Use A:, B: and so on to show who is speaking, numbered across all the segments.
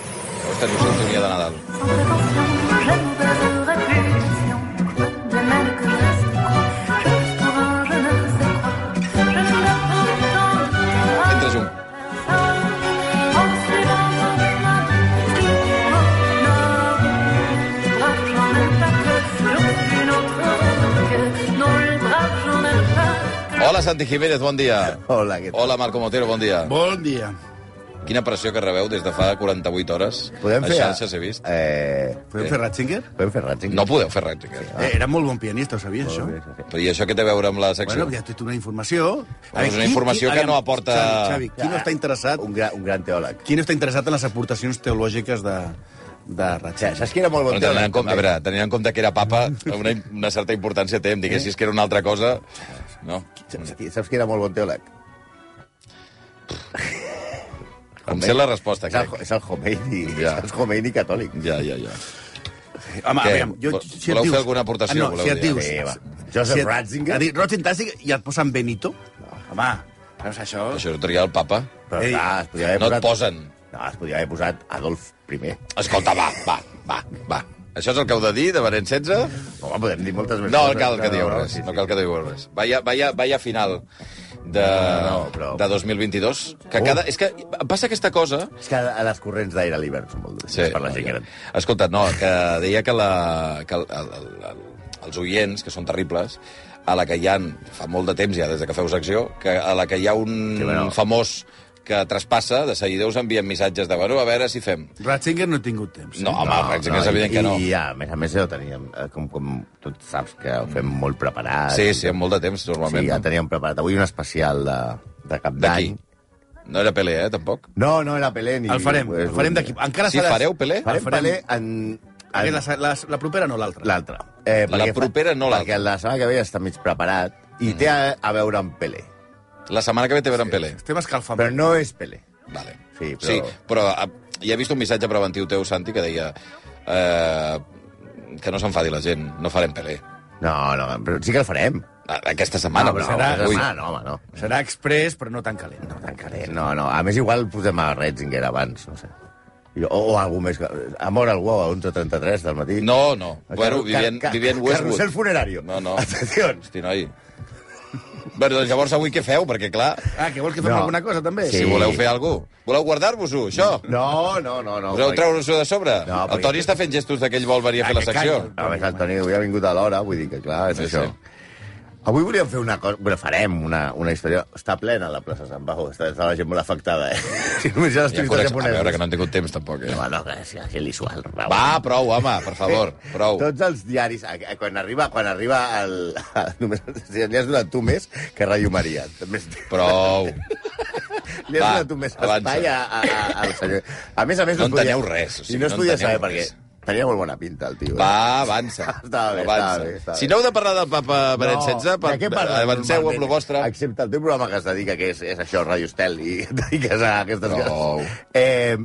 A: aquesta sintonia de Nadal. Entra Jung. Hola, Santi Jiménez, bon dia.
B: Hola, què tal?
A: Hola, Marco Motero, bon dia.
C: Bon dia.
A: Quina pressió que rebeu des de fa 48 hores.
B: Podem fer...
A: A xarxes he vist.
B: Eh,
C: Podem
A: Sí.
C: fer Ratzinger?
B: podem fer Ratzinger?
A: No podeu fer res, sí.
C: Eh, era molt bon pianista, ho sabies, això?
A: Però i això què té a veure amb la secció?
C: Bueno, ja t'he una informació...
A: Bueno, és una informació que no aporta-
C: Xavi, Xavi, qui no està interessat...
B: Un, gran, un gran teòleg.
C: Qui no està interessat en les aportacions teològiques de, de
B: O sigui,
C: Ratzinger?
B: saps que era molt bon
A: Bueno, tenint, en
B: teòleg?
A: compte, a veure, tenint en compte que era papa, una, una certa importància té. Em diguessis que era una altra cosa... No.
B: Saps, qui- saps que era molt bon teòleg?
A: Em sé la resposta,
B: És el,
A: crec.
B: és el Khomeini,
A: Ja.
B: ja. és el Khomeini catòlic.
A: Ja, ja, ja.
C: Home,
A: Què?
C: a veure, jo,
A: Vol-
C: si et
A: voleu fer
C: dius...
A: alguna aportació,
C: Ah,
A: voleu
C: No, si et
A: dir?
C: dius...
B: Sí, va. Joseph
C: et-
B: Ratzinger?
C: A dir, Rotten Tastic i et posen Benito? Home, veus això?
A: Això ho tria el papa.
B: Però
C: Ei,
B: clar, es podia haver
A: no et
B: posat...
A: posen.
B: No, es podia haver posat Adolf I.
A: Escolta, va, va, va, va. Això és el que heu de dir, de Benet 16?
B: Home, podem dir moltes més
A: No,
B: coses.
A: no cal que digueu res.
B: sí,
A: No
B: sí.
A: cal que digueu res. Vaya, vaya, vaya final de,
B: No, no, però- Oh.
A: de 2022. Que cada, és que passa aquesta cosa...
B: És que a les corrents d'aire a l'hivern són molt dures sí, per la gent gran.
A: Escolta, no, que deia que, la, que el, el, el, el- els oients, que són terribles, a la que hi ha, fa molt de temps ja, des de que feu secció, que a la que hi ha un
B: Sí, bueno.
A: famós que traspassa, de seguida us envien missatges de, bueno, a veure si fem.
C: Ratzinger no he tingut temps.
A: No, home, no, és
B: i-
A: evident que no.
B: I, ja, a més a més, ja ho teníem, eh, com, com tu saps que ho fem molt preparat.
A: Sí, sí, amb molt de temps,
B: Ah, sí,
A: normalment.
B: ja teníem preparat. Avui un especial de, de cap
A: D'aquí.
B: d'any.
A: No era Pelé, eh, tampoc.
B: No, no era Pelé. Ni...
C: El farem,
B: és
C: el farem
B: un-
C: d'aquí. Encara
A: Sí,
C: seràs...
A: fareu Pelé?
B: Farem,
C: El farem.
B: Pelé en...
C: Perquè
B: en...
C: La, la, la propera no l'altra.
B: L'altra. Eh,
A: La
B: perquè fa-
A: propera no l'altra. Mm.
B: Perquè la setmana que ve ja està mig preparat i té a, a veure amb Pelé.
A: La setmana que ve té veurem Pelé.
C: Estem escalfant.
B: Però no és Pelé.
A: Vale.
B: Sí, però-
A: sí, però ah, ja he vist un missatge preventiu teu, Santi, que deia eh, que no s'enfadi la gent, no farem Pelé.
B: No, no, però sí que el farem.
A: A- Aquesta setmana.
B: no, però
A: serà...
B: no,
A: Ui,
B: serà, no, home, no.
C: Serà express, però no tan calent. No.
B: Tan calent, no, no. A més, igual posem a Retzinger abans, no sé. I- O, o algú més. que- Amor al wow a 11.33 del matí.
A: no, no.
B: Car-
A: Bueno,
B: car-
A: vivien,
B: car-
A: vivien Westwood.
B: Carrusel funerario.
A: No, no.
B: Atenció.
A: Hosti, noi. Bueno, doncs llavors avui què feu? Perquè, clar,
C: Ah, que vols que fem
B: No.
C: alguna cosa, també?
B: Sí.
A: si voleu fer alguna cosa... Voleu guardar-vos-ho, això?
B: No, no, no. no
A: Voleu
B: perquè-
A: treure-ho de sobre?
B: No,
A: el
B: perquè-
A: Toni està fent gestos d'aquell vol venir a fer
C: Ah,
A: la
C: que
A: secció.
C: callo.
B: A més, el Toni avui ha vingut a l'hora, vull dir que, clar, és
A: Sí,
B: sí, això. Sí. Avui volíem fer una cosa... Bueno, farem una, una història... Està plena la plaça Sant Pau, està, està la gent molt afectada, eh? Si només hi ha les
A: Ja
B: turistes
A: conec... A veure,
B: japoneses.
A: que no han tingut temps, tampoc. Eh?
B: No, no, que és que li sual.
A: Va, prou, home, per favor, prou.
B: Tots els diaris, a- a- quan arriba, quan arriba el... Només si li has donat tu més que Ràdio Maria. Més,
A: Prou. Va,
B: li has donat tu més
A: avança.
B: espai a, a, a, al senyor. A més a més...
A: No
B: es podia-
A: enteneu res, o sigui,
B: I no es
A: no
B: podia
A: enteneu
B: saber
A: res.
B: perquè tenia molt bona pinta, el tio. eh?
A: Va, avança.
B: Estava bé,
A: avança.
B: estava bé, estava
A: si
B: bé.
A: no heu de parlar del papa Benet
B: No,
A: XVI, per,
B: de què parles
A: avanceu
B: normalment?
A: amb el vostre.
B: Excepte el teu programa que es dedica, que és, és això, Radio Estel, i et dediques a aquestes
A: No.
B: coses. Eh,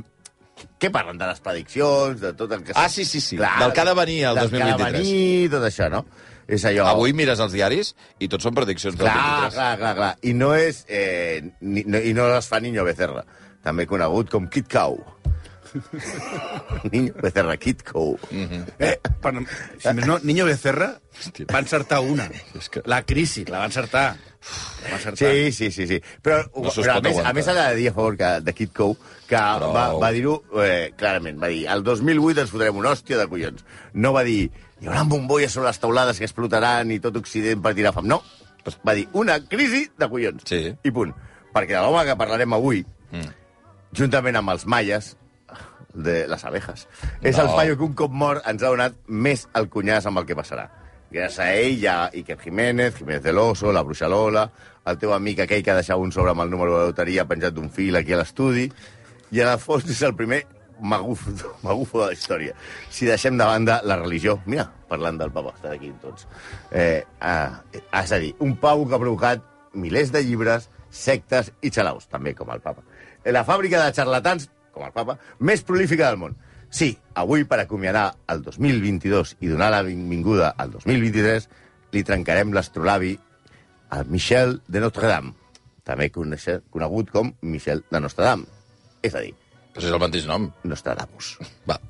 B: què parlen de les prediccions, de tot el que...
A: Ah, sí, sí, sí, del que ha de venir el
B: del que ha de
A: 2023.
B: venir, tot això, no? És allò...
A: Avui mires els diaris i tot són prediccions del
B: Clar,
A: 23.
B: clar, clar, clar. I no és... Eh, ni, no, I no les fa Niño Becerra, també conegut com Kit Cow. Niño Becerra, Kit Cow. Mm -hmm.
C: Eh, per, si més no, Niño Becerra
A: Hòstia.
C: va encertar una.
A: És que-
C: La crisi, la va encertar. La va encertar.
B: Sí, sí, sí, sí. Però,
A: No se'ls
B: però a,
A: pot
B: més,
A: aguantar.
B: a més, ha de dir a favor que, de Kid Cow, que
A: Prou.
B: va, va dir-ho eh, clarament. Va dir, el 2008 ens fotrem una hòstia de collons. No va dir, hi haurà bombolles sobre les taulades que explotaran i tot Occident partirà fam. No, doncs va dir, una crisi de collons.
A: Sí.
B: I punt. Perquè de l'home que parlarem avui,
A: Mm.
B: juntament amb els maies, de les abejas. És
A: No.
B: el paio que un cop mort ens ha donat més el cunyàs amb el que passarà. Gràcies a ell hi ha Iker Jiménez, Jiménez de l'Oso, la Bruixa Lola, el teu amic aquell que ha deixat un sobre amb el número de la loteria penjat d'un fil aquí a l'estudi, i en el fons és el primer magufo, magufo de la història. Si deixem de banda la religió... Mira, parlant del papa, estan aquí tots. Eh, ah, és a dir, un pau que ha provocat milers de llibres, sectes i xalaus, també com el papa. Eh, La fàbrica de xarlatans, com el papa, més prolífica del món. Sí, avui, per acomiadar el 2022 i donar la benvinguda al 2023, li trencarem l'astrolabi a Michel de Notre Dame, també conèixer- conegut com Michel de Notre Dame. És a dir,
A: Però si Doncs és el mateix nom.
B: Nostradamus.
A: Va.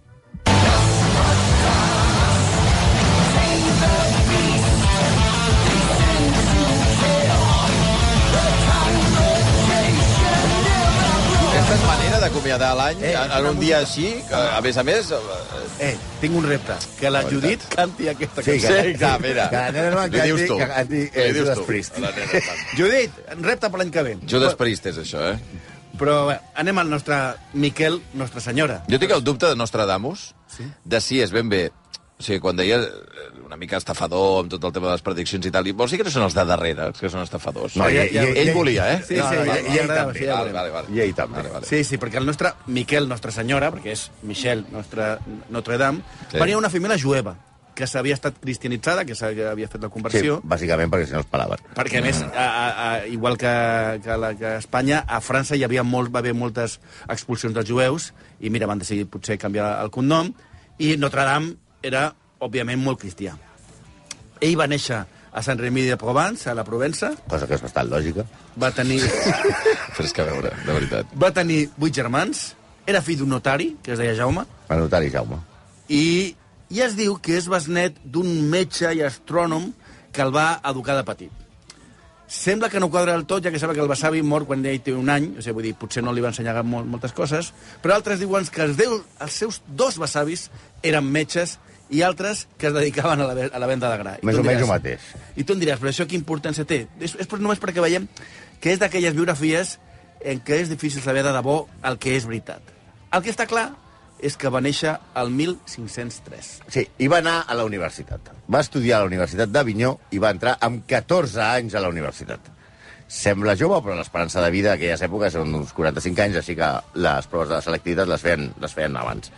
A: Aquesta és manera d'acomiadar l'any eh, en un dia així, que, a més a més... eh,
C: Eh, tinc un repte. Que la Judit canti aquesta
B: Sí,
C: cançó.
B: que-
A: Sí, clar, mira.
B: Que la nena no
A: Li dius
B: canti-
A: tu.
B: que canti, eh,
A: Li dius
B: Judas
A: tu.
B: Priest.
A: A la nena, va.
C: Judit, repte per l'any que ve.
A: Judas Priest és això, eh?
C: Però bé, anem al nostre Miquel, Nostra Senyora.
A: Jo tinc el dubte de Nostradamus,
C: Sí.
A: de si és ben bé... O sigui, quan deia eh, una mica estafador amb tot el tema de les prediccions i tal, i vols dir que no són els de darrere, els que són estafadors?
B: No,
A: Ell-
B: i- i-
A: ell
B: i-
A: volia, eh?
C: Sí,
B: No,
C: sí,
B: no,
C: ja-
B: i- i
C: ja
B: ell
C: agrada,
B: també.
C: sí, ja
A: Vale,
C: veurem.
A: vale, vale.
B: I ell també.
A: Vale, vale.
C: Sí, sí, perquè el nostre Miquel, Nostra Senyora, perquè és Michel, nostra Notre Dame,
A: Sí.
C: sí. venia d'una família jueva que s'havia estat cristianitzada, que s'havia havia fet la
B: Sí,
C: conversió,
B: bàsicament perquè si no els pelaven.
C: perquè, a més, a, a, a, igual que, que, la, que a Espanya, a França hi havia molt, va haver moltes expulsions dels jueus, i mira, van decidir potser canviar el cognom, i Notre Dame era, òbviament, molt cristià. Ell va néixer a Saint-Rémy de Provence, a la Provença,
B: Cosa que és bastant lògica.
C: va tenir...
A: Però és que a veure, de veritat.
C: Va tenir vuit germans, era fill d'un notari, que es deia Jaume,
B: El notari Jaume.
C: i, i es diu que és besnet d'un metge i astrònom que el va educar de petit. Sembla que no quadra del tot, ja que sembla que el Basavi mor quan ell té un any, o sigui, vull dir, potser no li va ensenyar molt, moltes coses, però altres diuen que els, deu, els seus dos Basavis eren metges i altres que es dedicaven a la, ve- a la venda de gra. I
B: Més
C: tu
B: o
C: em
B: menys
C: diràs,
B: el mateix.
C: i tu em diràs, però això quina importància té? És, és per- només perquè veiem que és d'aquelles biografies en què és difícil saber de debò el que és veritat. El que està clar és que va néixer el 1503.
B: Sí, i va anar a la universitat. Va estudiar a la Universitat d'Avinyó i va entrar amb 14 anys a la universitat. Sembla jove, però l'esperança de vida d'aquelles èpoques eren d'uns 45 anys, així que les proves de selectivitat les feien, les feien abans.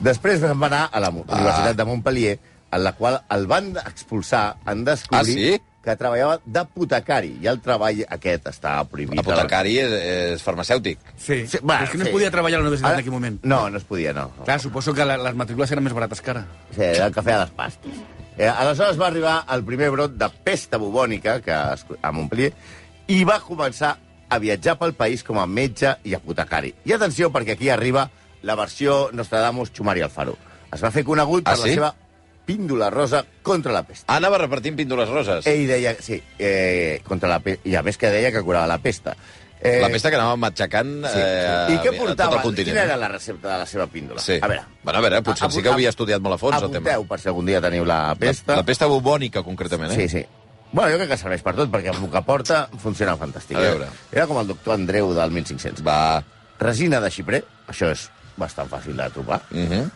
B: Després va anar a la Mo-
A: Ah.
B: Universitat de Montpellier, en la qual el van expulsar en descobrir
A: Ah, sí?
B: que treballava d'apotecari, i el treball aquest està prohibit. a la-
A: Apotecari és, és farmacèutic.
C: Sí,
B: Sí,
C: sí
B: va,
C: és que no
B: sí.
C: es podia treballar a la universitat
B: Ara-
C: en aquell moment.
B: No, no es podia, no.
C: Clar, suposo que la, les matrícules eren més barates que ara.
B: Sí, era el cafè a les pastes. Eh, aleshores va arribar el primer brot de pesta bubònica que es- a Montpellier i va començar a viatjar pel país com a metge i apotecari. I atenció, perquè aquí arriba la versió Nostradamus Xumari Alfaro. Es va fer conegut per
A: Ah, sí?
B: la seva píndola rosa contra la pesta.
A: Ah, Anava repartint píndoles roses.
B: Ell deia, sí, eh, contra la pesta, i a més que deia que curava la pesta. Eh,
A: La pesta que anava matxacant
B: Sí, sí.
A: eh,
B: I què
A: a- a tot
B: portava?
A: el continent. eh?
B: Quina era la recepta de la seva píndola?
A: Sí.
B: A veure,
A: Bueno, a veure, potser
B: A-
A: sí que
B: apunteu-
A: havia estudiat molt a fons el tema.
B: apunteu per si algun dia teniu la pesta.
A: La, la pesta bubònica, concretament, eh?
B: Sí, sí. Bueno, jo crec que serveix per tot, perquè amb el que porta funciona fantàstic. eh?
A: A veure.
B: Era com el doctor Andreu del 1500.
A: Va.
B: Resina de xiprer, això és bastant fàcil de trobar.
A: Uh -huh.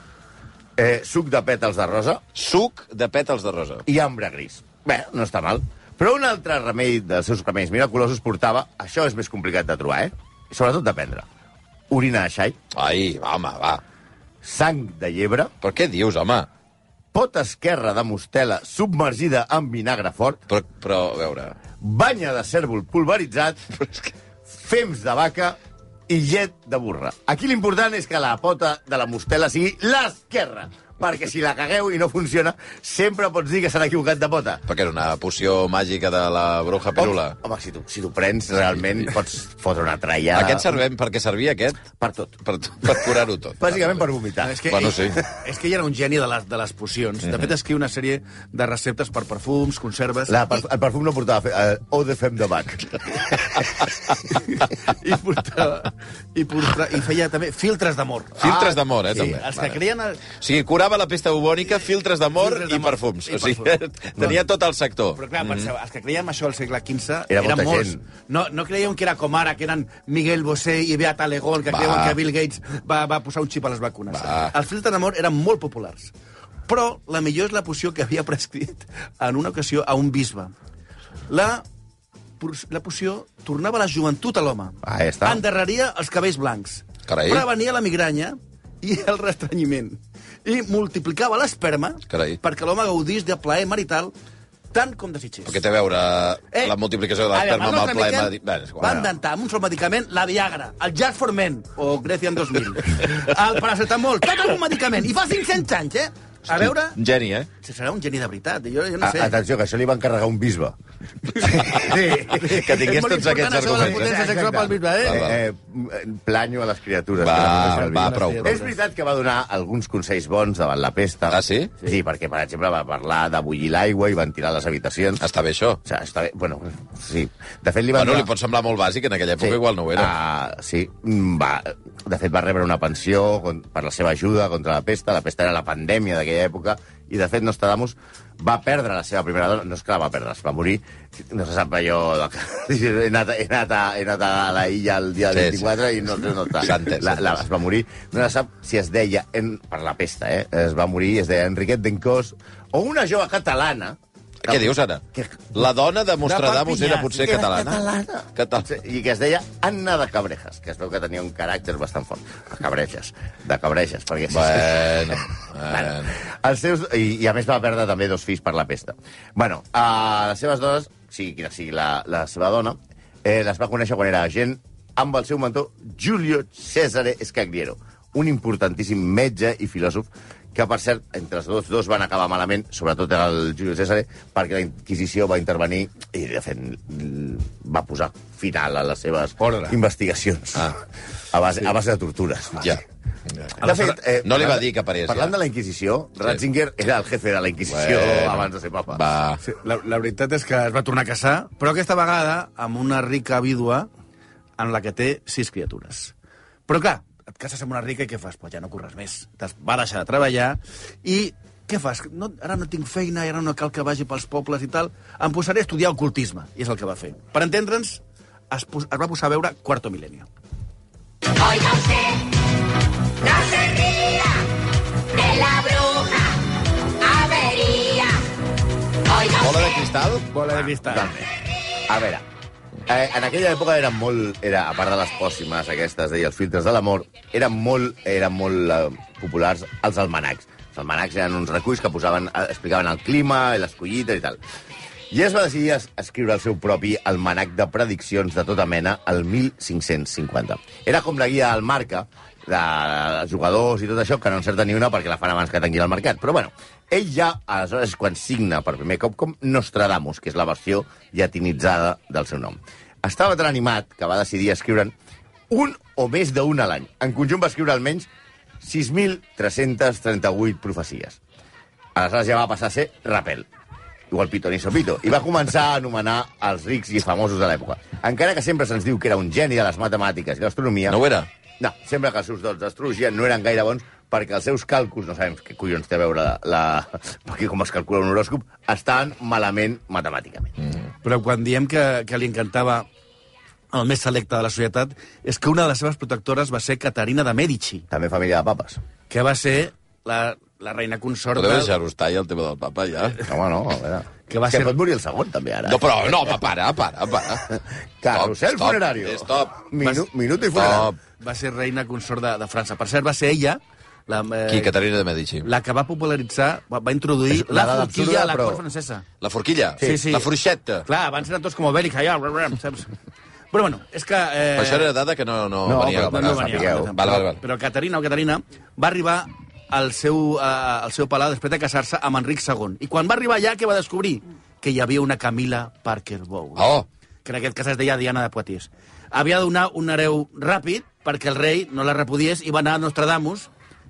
B: Eh, suc de pètals de rosa
A: Suc de pètals de rosa.
B: i ambre gris. Bé, no està mal. Però un altre remei dels seus remeis miraculosos portava... Això és més complicat de trobar, eh? I Sobretot de prendre. Orina de xai,
A: Ai, va, home, va.
B: sang de llebre,
A: Però què dius, home?
B: pot esquerra de mostela submergida en vinagre fort,
A: Però, però a veure...
B: banya de cèrvol pulveritzat, fems de vaca i llet de burra. Aquí l'important és que la pota de la mostela sigui l'esquerra, perquè si la cagueu i no funciona, sempre pots dir que s'han equivocat de pota.
A: Perquè era una poció màgica de la bruja pirula.
B: Home, home si tu, si tu prens, realment pots fotre una traia...
A: Aquest servem, per què servia aquest?
B: Per tot.
A: Per, per curar-ho tot.
B: Bàsicament per vomitar.
C: És que,
A: Bueno,
C: ell-
A: sí.
C: és que ell era un geni de les, de les pocions. De fet, escriu una sèrie de receptes per perfums, conserves...
B: La, per- el perfum no portava fe, eh, o de fem de bac.
C: i, portava, i, portava, i feia també filtres d'amor. Ah,
A: Filtres d'amor, eh,
C: sí,
A: també.
C: Els que
A: Vale.
C: creien... El...
A: O sigui, curava la pesta bubònica, filtres d'amor
C: Filtres
A: i
C: d'amor
A: perfums.
C: i
A: O sigui,
C: perfums.
A: tenia tot el sector. Mm,
C: Però clar, penseu, els que creien això al segle XV
B: Era
C: eren
B: molta
C: molts.
B: gent.
C: No, no creien que era com ara, que eren Miguel Bosé i Beata Legón, que
A: Va.
C: creuen que Bill Gates va, va posar un xip a les vacunes.
A: Va.
C: Els filtres d'amor eren molt populars. Però la millor és la poció que havia prescrit en una ocasió a un bisbe. La, por- la poció tornava la joventut a l'home.
B: Ah, ja està.
C: Endarreria els cabells blancs.
A: Carai.
C: Prevenia la migranya i el restrenyiment. I multiplicava l'esperma
A: Carai.
C: perquè l'home gaudís de plaer marital tant com desitgés.
A: Però què té a veure eh, la multiplicació de l'esperma amb el plaer medi... Bé, és
C: Va
A: igual.
C: inventar amb un sol medicament la Viagra, el Jack Forment, o Grecian 2000, el paracetamol, tot amb un medicament, i fa 500 anys, eh? A veure...
D: Un geni, eh?
C: Si serà un geni de veritat, jo, jo
B: A,
C: no sé.
B: atenció, que això li va encarregar un bisbe. Sí.
D: Que tingués tots aquests
C: És molt important això de la
D: arguments.
C: potència
B: Exacte.
C: sexual pel bisbe, eh?
B: Eh, eh, planyo a les criatures.
A: Va,
B: que les coneixen el
A: va,
B: bisbe.
A: prou, prou.
B: És veritat que va donar alguns consells bons davant la pesta.
A: Ah, sí?
B: Sí, perquè, per exemple, va parlar de bullir l'aigua i ventilar les habitacions.
A: Està bé, això.
B: O sigui, està bé. Bueno, sí. De fet, li van
A: Bueno,
B: donar-
A: li pot semblar molt bàsic, en aquella època igual no ho era.
B: Ah, sí, Mm, va, de fet va rebre una pensió con- per la seva ajuda contra la pesta, la pesta era la pandèmia d'aquella època, i de fet Nostradamus va perdre la seva primera dona, no és que la va perdre, es va morir, no se sap allò... de que- He anat, he anat, a, he anat a la illa el dia
A: Sí, sí.
B: 24 i no, no està.
A: S'ha entès,
B: la, la,
A: s'ha entès.
B: es va morir, no se sap si es deia, en, per la pesta, eh? es va morir, es deia Enriquet d'Encós, o una jove catalana...
A: Què dius, ara?
B: Que-
A: La dona de Mostradamus
D: De Perpinyà,
A: era potser
B: era
A: catalana.
B: catalana.
A: Catalana.
B: Sí, Doncs, eh, I que es deia Anna de Cabrejas, que es veu que tenia un caràcter bastant fort. De Cabrejas, de Cabrejas, perquè...
A: Bueno,
B: Bueno,
A: bueno.
B: els seus, i, I a més va perdre també dos fills per la pesta. bueno, a les seves dones, sigui quina sigui la, la seva dona, eh, les va conèixer quan era agent amb el seu mentor Giulio Cesare Scagliero, un importantíssim metge i filòsof que, per cert, entre els dos, dos van acabar malament, sobretot el Giulio Cesare, perquè la Inquisició va intervenir i, de fet, va posar final a les seves
D: Ordre.
B: investigacions. Ah. A, base, sí. a base de tortures.
A: Ja.
B: De fet, eh,
A: No li va
B: parlant-
A: dir que parés,
B: Parlant
A: ja.
B: de la Inquisició, Ratzinger era el jefe de la Inquisició
A: Bueno.
B: abans de ser papa.
A: Va.
C: Sí, la, la veritat és que es va tornar a casar, però aquesta vegada amb una rica vídua en la que té sis criatures. Però clar, et cases amb una rica i què fas? Pues ja no corres més. T'has- Va deixar de treballar i què fas? No, ara no tinc feina, ara no cal que vagi pels pobles i tal. Em posaré a estudiar ocultisme, i és el que va fer. Per entendre'ns, es, pos, es va posar a veure Cuarto Milenio.
E: Oiga usted, no se ría de la bruja avería. Oiga
A: Bola de
E: usted,
A: cristal?
C: Bola de cristal.
B: A veure, eh, en aquella època era molt... Era, a part de les pòssimes aquestes i els filtres de l'amor, eren molt, eren molt eh, populars els almanacs. Els almanacs eren uns reculls que posaven, eh, explicaven el clima i les collites i tal. I es va decidir es escriure el seu propi almanac de prediccions de tota mena el 1550. Era com la guia al marca de jugadors i tot això, que no encerta ni una perquè la fan abans que tanqui el mercat. Però bueno, ell ja, aleshores, és quan signa per primer cop com Nostradamus, que és la versió llatinitzada del seu nom. Estava tan animat que va decidir escriure'n un o més d'un a l'any. En conjunt va escriure almenys 6.338 profecies. Aleshores ja va passar a ser Rapel. Igual Pito ni Sopito. I va començar a anomenar els rics i famosos de l'època. Encara que sempre se'ns diu que era un geni de les matemàtiques i l'astronomia...
A: No ho era?
B: No, sembla que els seus dots d'astrologia no eren gaire bons perquè els seus càlculs, no sabem què collons té a veure la, la... perquè com es calcula un horòscop, estaven malament matemàticament. Mm.
C: Però quan diem que, que li encantava el més selecte de la societat és que una de les seves protectores va ser Caterina de Medici,
B: També família de papes.
C: que va ser la, la reina consort
A: Podeu
C: de...
A: deixar-ho estar, ja, el tema del papa, ja?
B: Home, no, a veure...
C: Que va
B: que
C: ser-
B: pot morir el segon, també, ara. eh?
A: No, però, no, home, para, para, para.
B: Carrusel
A: Stop, stop,
B: funerario.
A: stop.
B: Minu,
C: Vas-
B: minuto i funerario.
A: Stop.
C: Va ser reina consort de, de França. Per cert, va ser ella la, eh,
A: Qui, Caterina de Medici? La,
C: la que va popularitzar, va, va introduir
B: És
C: la,
B: la dada
C: forquilla
B: absurda,
C: a la
B: però-
C: cort francesa.
A: la forquilla?
C: Sí, sí.
A: La forxeta?
C: Clar, abans eren tots com Bèlica, ja, brr, brr, saps? Però bueno, és que... Eh,
A: Però això era dada que no, no,
B: No,
A: venia.
B: però-
A: al
C: no,
B: que
C: no venia.
B: sapigueu.
C: Val,
A: Val, val, val.
C: Però Caterina o Caterina va arribar al seu, eh, al seu palau després de casar-se amb Enric II. I quan va arribar allà, què va descobrir? Que hi havia una Camila Parker Bowles.
A: Oh.
C: Que en aquest cas es deia Diana de Poitiers. Havia de donar un hereu ràpid perquè el rei no la repudiés i va anar a Nostradamus,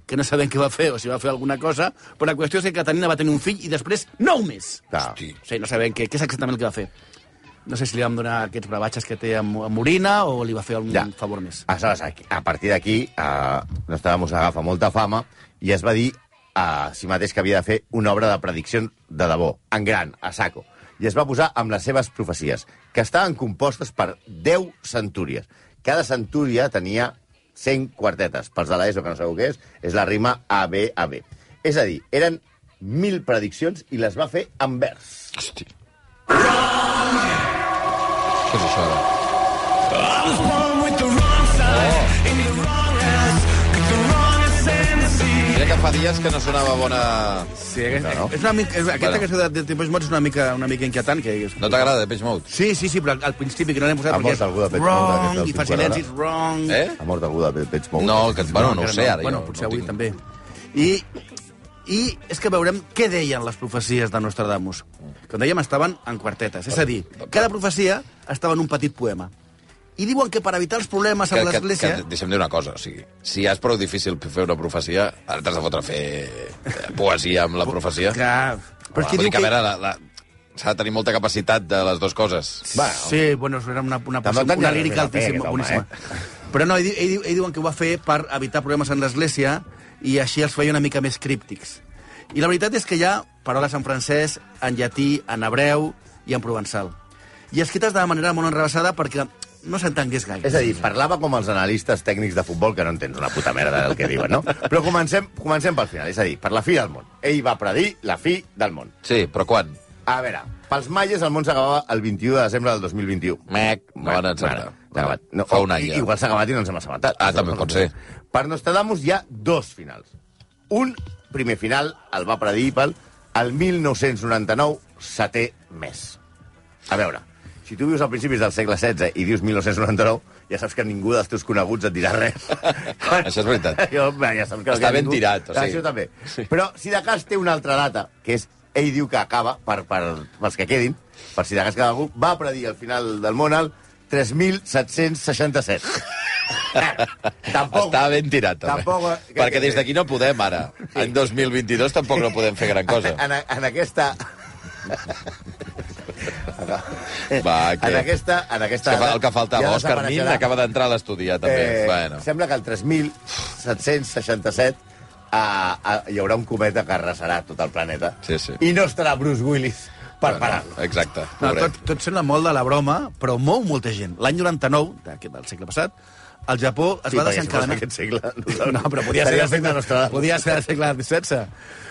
C: que no sabem què va fer o si va fer alguna cosa, però la qüestió és que Caterina va tenir un fill i després nou més.
B: Clar.
A: Hosti.
C: O sigui, no sabem què, què és exactament el que va fer. No sé si li vam donar aquests bravatges que té amb, amb orina o li va fer algun
B: Ja.
C: favor més.
B: Aleshores, aquí, Ah, a partir d'aquí, eh, Nostradamus agafa molta fama i es va dir a si mateix que havia de fer una obra de predicció de debò, en gran, a saco. I es va posar amb les seves profecies, que estaven compostes per 10 centúries. Cada centúria tenia 100 quartetes. Pels de l'ESO, que no sabeu què és, és la rima ABAB. És a dir, eren 1.000 prediccions i les va fer en vers.
A: Hosti. Què és això, ara? Oh! Mira que fa dies que no sonava bona...
C: Sí, aquesta,
B: No, no.
C: És una mica, és, aquesta
A: Bueno.
C: cançó de, de Depeche Mode és una mica, una mica inquietant. Que és...
A: No t'agrada, Depeche Mode?
C: Sí, sí, sí, però al principi que no l'hem posat
B: Ha
C: perquè
B: mort algú de Depeche Mode
C: wrong,
B: aquesta
C: i fa
B: última hora?
C: silenci, és wrong.
A: Eh?
B: Ha mort algú de Pets
A: No, que, bueno, no ho
C: encara
A: sé, ara.
C: Bueno,
A: jo
C: potser
A: no
C: avui
A: tinc-
C: també. I i és que veurem què deien les profecies de Nostradamus. Com dèiem, estaven en quartetes. És a dir, cada profecia estava en un petit poema. I diuen que per evitar els problemes amb
A: que, que,
C: l'Església...
A: deixa'm dir una cosa, o sigui, si ja és prou difícil fer una profecia, ara t'has de fotre a fer eh, poesia amb la profecia.
C: Que...
A: Home,
C: Però és que
A: vull
C: diu
A: dir que... A
C: que...
A: veure, la, la... s'ha de tenir molta capacitat de les dues coses.
B: Va,
C: Sí, bueno, era una, una,
B: Tampoc
C: una,
B: tenia
C: una
B: res
C: lírica
B: a fer, aquest home,
C: altíssima,
B: eh?
C: boníssima. Però no, ell, diu- ell, diu- ell diuen que ho va fer per evitar problemes en l'Església i així els feia una mica més críptics. I la veritat és que hi ha paraules en francès, en llatí, en hebreu i en provençal. I escrites de manera molt enrevessada perquè no s'entengués gaire.
B: És a dir, parlava com els analistes tècnics de futbol, que no entens una puta merda del que diuen, no? Però comencem, comencem pel final, és a dir, per la fi del món. Ell va predir la fi del món.
A: Sí, però quan?
B: A veure, pels maies el món s'acabava el 21 de desembre del 2021.
A: Mec, no van encertar.
B: Bueno, s'ha acabat. No,
A: Fa un any,
B: i-
A: ja.
B: Igual s'ha acabat i no ens hem assabentat.
A: Ah, també pot ser.
B: Per Nostradamus hi ha dos finals. Un primer final el va predir pel el 1999 setè mes. A veure, si tu vius a principis del segle XVI i dius 1999, ja saps que ningú dels teus coneguts et dirà res.
A: Això és veritat.
B: Jo, bé, ja saps que
A: Està
B: que
A: ben tirat, o sigui.
B: Això també. Però si de cas té una altra data, que és ell diu que acaba, per, per, pels que quedin, per si de cas queda algú, va predir el final del món al 3.767. Tampoc...
A: Està ben tirat, també.
B: Tampoc- eh,
A: Perquè des d'aquí no podem, ara. En 2022 tampoc no podem fer gran cosa.
B: En, en aquesta...
A: Va,
B: En
A: que...
B: aquesta... En
A: És
B: aquesta
A: que fa el que faltava.
B: ja
A: Òscar Nin
B: desapareixerà.
A: acaba d'entrar a l'estudi, ja, també.
B: Eh,
A: bueno.
B: Sembla que el 3.767 a, a, eh, hi haurà un cometa que arrasarà tot el planeta.
A: Sí, sí.
B: I no estarà Bruce Willis per
A: Bueno,
B: parar-lo.
A: Exacte,
C: No,
A: pobret.
C: tot, tot sembla molt de la broma, però mou molta gent. L'any 99, d'aquest- del segle passat, al Japó es
B: Sí, perquè si
C: va
B: fos
C: desencadenar...
B: d'aquest segle,
C: No, no, però podia ser,
B: estaria fent
C: del
B: de
C: segle,
B: Nostradamus.
C: podia ser del segle XVI.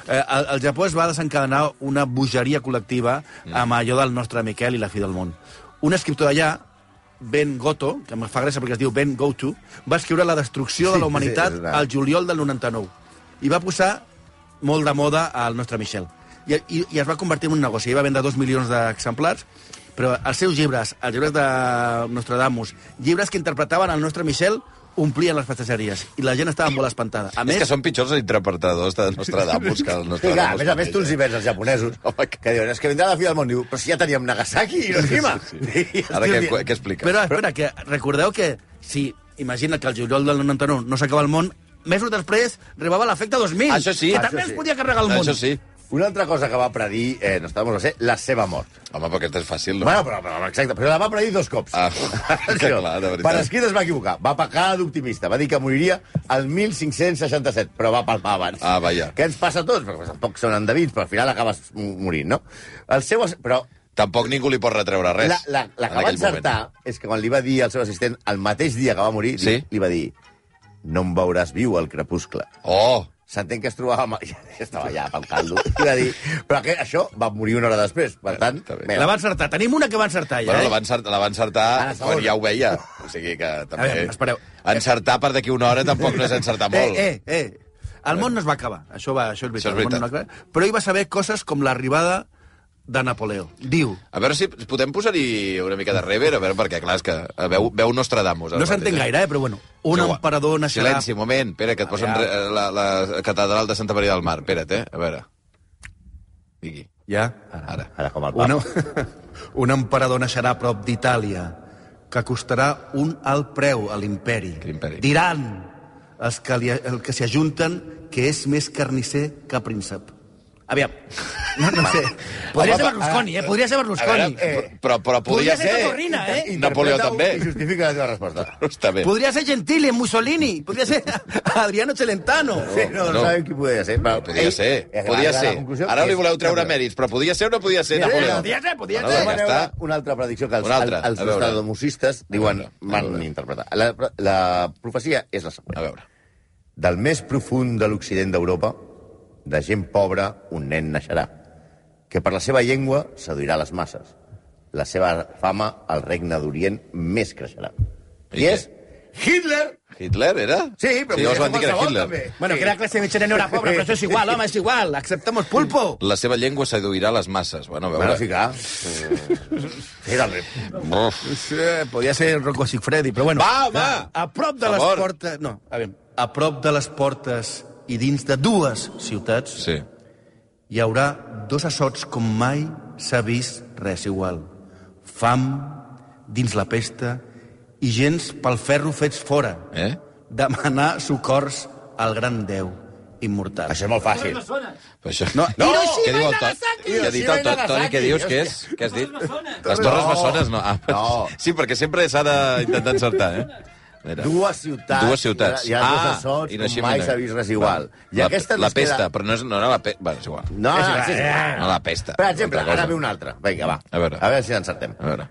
C: Eh, al, al Japó es va desencadenar una bogeria col·lectiva
B: Mm.
C: amb allò del nostre Miquel i la fi del món. Un escriptor d'allà, Ben Goto, que em fa gràcia perquè es diu Ben Goto, va escriure La destrucció de
B: Sí,
C: la humanitat
B: sí, és
C: sí,
B: una-
C: al juliol del 99 i va posar molt de moda al nostre Michel. I, i, I es va convertir en un negoci. Ell va vendre dos milions d'exemplars, però els seus llibres, els llibres de Nostradamus, llibres que interpretaven el nostre Michel, omplien les pastisseries. I la gent estava molt espantada. A
A: És
C: més,
A: que són pitjors els interpretadors de Nostradamus que el
B: Sí, clar,
A: Nostradamus. eh?
B: a més a més, tu els hi vens als japonesos,
A: Home, que-
B: que diuen, és que vindrà la fi del món. Diu, però si ja teníem Nagasaki i Hiroshima. Sí, sí, sí.
A: Ara què, què explica?
C: Però, espera, que recordeu que si, imagina que el juliol del 99 no s'acaba el món, mesos després rebava l'efecte 2000.
A: Això sí.
C: Que
A: Això
C: també
B: sí.
C: es podia carregar el món.
A: Això sí.
B: Una altra cosa que va predir, eh, Nostradamus va ser la seva mort.
A: Home, però aquest és fàcil, no?
B: Bueno, però, però, exacte, però la va predir dos cops.
A: Ah, que
B: Això.
A: clar, de veritat.
B: per escrit es va equivocar. Va pecar d'optimista. Va dir que moriria el 1567, però va palmar abans.
A: Ah, vaja.
B: Què ens passa a tots? Perquè tampoc són endevins, però al final acabes m- morint, no? El seu... as- Però
A: Tampoc ningú li pot retreure res.
B: la, la, la
A: en
B: que va
A: aquell moment.
B: encertar és que quan li va dir al seu assistent, el mateix dia que va morir, li,
A: Sí?
B: li va dir no em veuràs viu al crepuscle.
A: Oh!
B: S'entén que es trobava... Amb... Ja estava allà pel caldo. I va dir... Però que, això va morir una hora després. Per tant,
A: Està bé.
B: mira,
C: La va encertar. Tenim una que va encertar, ja.
A: Bueno,
C: eh?
A: la va encertar, la va
B: Ah, la
A: encertar
B: segona.
A: quan ja ho veia. O sigui que també...
C: veure, espereu.
A: Encertar per d'aquí una hora tampoc no és encertar molt.
C: Eh, eh, eh. El món no es va acabar, això, va, això és veritat.
A: Això és
C: el món
A: veritat.
C: no va acabar. Però ell va saber coses com l'arribada de Napoleó. Diu,
A: A veure si podem posar-hi una mica de rever, a veure, perquè clar, és que eh, veu, veu Nostradamus. ara
C: no
A: mateix,
C: s'entén
A: eh?
C: gaire, eh, però bueno, un
A: Però,
C: emperador naixerà...
A: Silenci, un moment. Espera, que et posen
C: Aviam.
A: re- eh, la, la catedral de Santa Maria del Mar. Espera't, eh? A veure. Digui.
C: Ja?
A: Ara.
B: Ara com el papa.
C: Un, un emperador naixerà a prop d'Itàlia, que costarà un alt preu a l'imperi.
A: L'imperi.
C: Diran els que, li, el que s'hi ajunten que és més carnisser que príncep. Aviam, no, no sé. Podria ser Berlusconi, eh? Podria ser
A: A veure,
C: Berlusconi.
A: eh, però, però podria,
C: Podria ser Cotorrina, eh?
A: Napoleó
B: Interpreta-ho
A: també.
B: I justifica la teva resposta.
A: Està bé.
C: Podría ser Gentile, Mussolini, podría ser Adriano Celentano.
B: Sí, no, no,
A: no.
B: sabem qui podia ser. eh, Però,
A: Podia ser,
C: eh,
A: podia ser. Ara li voleu treure mèrits, però podia ser o no podia ser,
B: Mira,
A: Napoleó?
B: podia
C: ser, podia
A: Bueno,
C: ser.
A: doncs ja està.
B: Una altra predicció que els,
A: Una altra,
B: el- els
A: a veure.
B: nostradamusistes diuen van interpretar. La, la profecia és la següent.
A: A veure.
B: Del més profund de l'Occident d'Europa, de gent pobra, un nen naixerà, que per la seva llengua seduirà les masses. La seva fama al regne d'Orient més creixerà.
A: I
B: I
A: què?
B: és Hitler!
A: Hitler, era?
B: Sí, però
A: sí,
B: podia
A: llavors
B: ser
A: van dir que era
B: qualsevol,
A: Hitler.
B: també.
C: Bueno,
B: Sí.
C: que la clase mechera no era pobre, pero eso es igual, home, es igual. Aceptamos pulpo.
A: La seva llengua seduirà les masses. Bueno, a veure...
B: Bueno, sí, clar. Sí, doncs, també.
A: Uf.
C: Sí,
B: eh,
C: podria ser Rocco Sigfredi, però bueno.
A: Va, home!
C: A prop de les
A: Favor.
C: portes... No, a veure. A prop de les portes i dins de dues ciutats
A: Sí.
C: hi haurà dos assots com mai s'ha vist res igual. Fam, dins la pesta i gens pel ferro fets fora.
A: Eh?
C: Demanar socors al gran Déu immortal.
B: Això és molt fàcil.
A: Però això...
C: No,
A: no!
E: Hiroshima
A: Què diu el
E: i Nagasaki!
A: Toni? Què ha dit el Toni? Toni, què dius? Què és? Què has dit? Les Torres
B: No.
A: Bessones, no. Ah,
B: No.
A: Sí, perquè sempre s'ha d'intentar encertar, eh? A veure.
B: Dues ciutats.
A: Dues ciutats.
B: Hi ha, hi ha dos
A: Ah,
B: assots, com
A: Hiroshima i
B: mai
A: Nagasaki.
B: s'ha vist res igual. I
A: la,
B: aquesta ens
A: la pesta,
B: queda-
A: però no, és, no era la pesta. Bé, és igual.
B: No, no, sí,
A: No la pesta.
B: Per exemple,
A: Altra cosa.
B: ara ve una altra. Vinga, va.
A: A veure.
B: A veure si l'encertem.
A: A veure.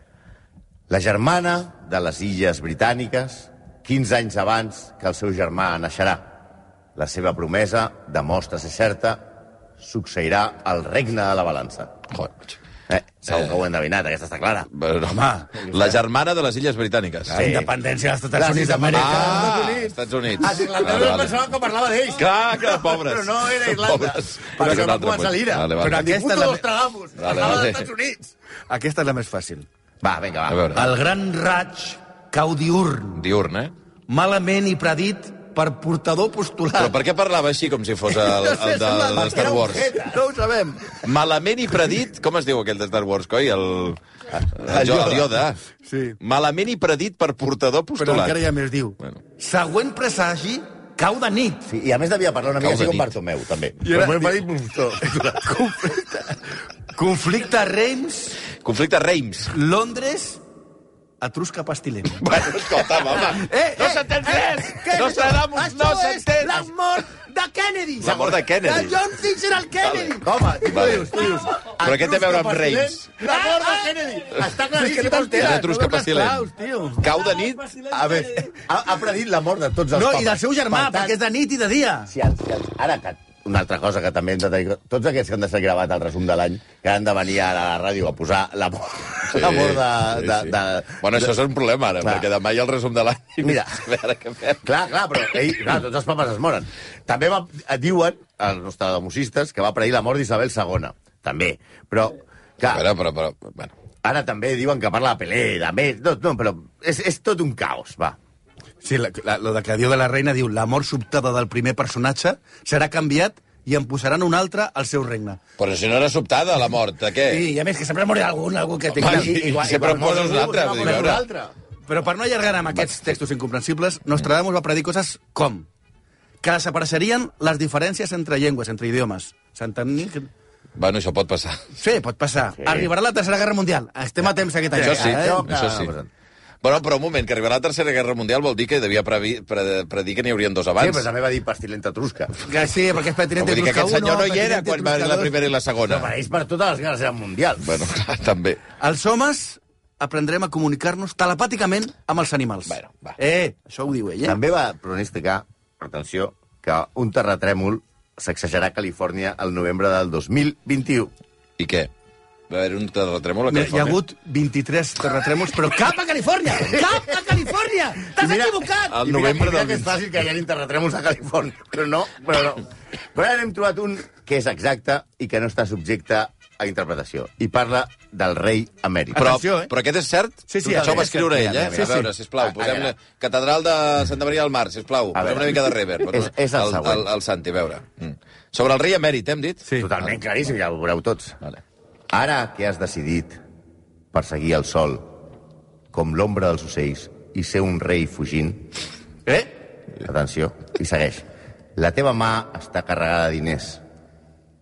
B: La germana de les Illes Britàniques, 15 anys abans que el seu germà naixerà. La seva promesa demostra ser certa, succeirà al regne de la balança.
A: Joder.
B: Eh, segur que ho he endevinat, aquesta està clara.
A: Bueno, home, la germana de les Illes Britàniques.
C: La independència dels Estats
B: Gràcies,
C: Units d'Amèrica.
A: Ah,
B: Estats Units.
A: Estats Units.
B: Ah, sí, l'altre dia pensava que parlava d'ells.
A: Clar, que pobres.
B: Però no era Irlanda.
A: Pobres.
B: Per
A: Era
B: això
A: un
B: va
A: altre
B: començar
A: punt.
B: l'ira.
A: Vale, vale.
B: Però
A: Però
C: aquesta
B: aquesta
C: és la-
B: Dos tragamos.
A: Vale,
B: Parlava
A: vale.
B: dels Estats Units.
C: Ah. Aquesta és la més fàcil.
B: Va, vinga, va.
A: A veure,
C: El gran raig cau diurn,
A: diurn, eh?
C: malament i predit per portador
A: Però
C: postulat.
A: per què parlava així com si fos el, el de, de Star Wars?
C: No ho sabem.
A: Malament i predit... Com es diu aquell de Star Wars, coi? El, el, Jo- el Yoda.
C: Sí.
A: Malament i predit per portador
C: Però
A: postulat.
C: encara hi ha més, diu.
A: Bueno.
C: Següent presagi cau de nit.
B: Sí, I a més devia parlar una mica
A: Cau de
B: així com
A: nit.
B: Bartomeu, també.
C: I ara-
B: Però m'he dit...
C: Conflicte, conflicte a Reims,
A: Conflicte Reims.
C: Londres, Etrusca Pastilent.
A: Bueno, escolta, home.
C: Eh,
A: no s'entén res! no s'entén, no s'entén!
C: La mort de Kennedy.
A: La mort de Kennedy.
C: De John Fitzgerald Kennedy.
B: Home, tu
A: Vale.
B: dius, tu dius...
A: Però què té a veure amb Reims?
B: La mort
C: Ah,
B: de Kennedy. Està claríssim on té.
A: És Etrusca
C: Claus,
A: Pastilent.
C: tio.
A: Cau de nit...
B: A veure, ha, ha predit la mort de tots els
C: No,
B: papes.
C: i del seu
B: Per
C: germà,
B: tant,
C: perquè és de nit i de dia.
B: Si els, si els, ara que una altra cosa que també hem de tenir... Tots aquests que han de ser gravat al resum de l'any, que han de venir ara a la ràdio a posar la mort, sí, la mort de,
A: sí,
B: de,
A: sí.
B: de,
A: Bueno, això és un problema, ara,
B: Clar.
A: perquè demà hi ha el resum de l'any.
B: Mira.
A: A veure què fem.
B: Clar, clar, però ei, clar, tots els papes es moren. També va, eh, diuen, els nostradamusistes, que va predir la mort d'Isabel II. També. Però,
A: A veure,
B: clar,
A: però, però, bueno.
B: ara també diuen que parla de Pelé, de més... No, no però és, és tot un caos, va.
C: Sí, la, la, lo de que diu de la reina diu la mort sobtada del primer personatge serà canviat i en posaran un altre al seu regne.
A: Però si no era sobtada, la mort, de què?
C: Sí, i a més que sempre morirà algun, algun que
A: Home,
C: tingui...
A: i- sempre poses un altre, vull dir, a veure.
C: Però per no allargar amb aquests textos incomprensibles, Nostradamus va predir coses com que desapareixerien les diferències entre llengües, entre idiomes. S'entenir? que-
A: Bueno, això pot passar.
C: Sí, pot passar. Sí. Arribarà la Tercera Guerra Mundial. Estem a temps aquest any. eh?
A: Això sí,
C: encara,
B: això-
A: això sí. Bueno, però un moment, que arribarà la Tercera Guerra Mundial vol dir que devia previ, pre, predir que n'hi haurien dos
B: Sí,
A: abans.
B: però també va dir pastilenta trusca.
C: Que sí, perquè
A: No,
C: és Petinente
A: vull dir que
C: Trusca
A: aquest
C: 1,
A: senyor no hi era
C: Petinente
A: quan va haver
C: Trusca
A: la
C: 2.
A: primera i la
B: No,
A: segona.
B: per ells, per totes les guerres mundials.
A: Bueno, clar, també.
C: Els homes aprendrem a comunicar-nos telepàticament amb els animals.
A: Bueno, va.
C: Eh, això ho diu ell, eh?
B: També va pronosticar, atenció, que un terratrèmol sacsejarà Califòrnia el novembre del 2021.
A: I què? Va haver un terratrèmol a
C: Mira, hi ha
A: Califòrnia?
C: hagut 23 terratrèmols, però cap a Califòrnia! Cap a Califòrnia!
B: I
C: T'has
B: mira-
C: equivocat!
A: El
B: I mira-
A: novembre
B: i mira
A: del
B: que és fàcil que hi hagi terratrèmols a Califòrnia, però no, però no. Però ara n'hem trobat un que és exacte i que no està subjecte a interpretació. I parla del rei emèrit.
A: Però,
C: Atenció, eh?
A: però aquest és cert? Doncs
C: Sí, sí,
A: Això ho
C: a
A: va
C: veure,
A: escriure
C: mira,
A: ell,
C: mira,
A: eh?
C: mira,
A: a veure,
C: sí, sí.
A: sisplau,
B: A- a
A: posem la
B: veure.
A: Catedral de Santa Maria del Mar, sisplau.
B: A
A: Posem
B: veure.
A: una mica de reverb.
B: És- és el
A: el,
B: següent.
A: el, el Santi, a veure. Mm. Sobre el rei emèrit, eh, hem dit?
C: Sí.
B: Totalment claríssim, ja ho veureu tots.
A: Vale.
B: Ara que has decidit perseguir el sol com l'ombra dels ocells i ser un rei fugint,
C: Eh?
B: Atenció, i segueix. La teva mà està carregada de diners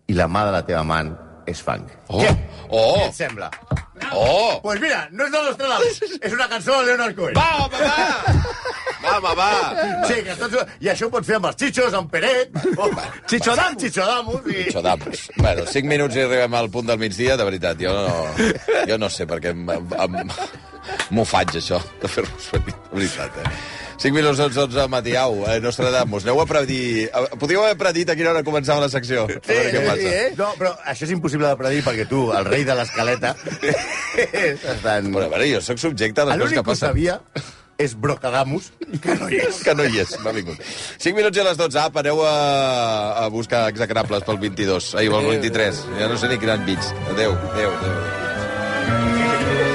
B: i la mà de la teva man és fang.
A: Oh! Oh!
B: sembla?
A: Oh!
B: Pues mira, no és de Nostradamus, és una cançó de Leonard Cohen.
A: Va, home, va! Va, home, va!
B: Sí, que tots... I això ho pots fer amb els xitxos, amb Peret... o- Xitxodamus! Xitxodamus! I...
A: Xodamos. Bueno, 5 minuts i arribem al punt del migdia, de veritat. Jo no, jo no sé per què em- em- em- m'ho faig, això, de fer-vos venir, de veritat, eh? 5 minuts dels 11 del matí, au, eh, Nostradamus, aneu a predir... a- Podíeu haver predit a quina hora començava la secció. Sí, eh? a veure què passa.
B: No, però això és impossible de predir perquè tu, el rei de l'escaleta, estan...
A: Bueno, a veure, jo sóc subjecte a les coses
B: Ah, L'únic
A: que
B: que ho
A: passen.
B: sabia és Brocadamus, que no hi és.
A: Que no hi és, no ha vingut. 5 minuts i a les 12, apa, aneu a, a buscar execrables pel 22, ahir pel 23. Ja no sé ni quin any mig. Adéu, adéu, adéu. adéu.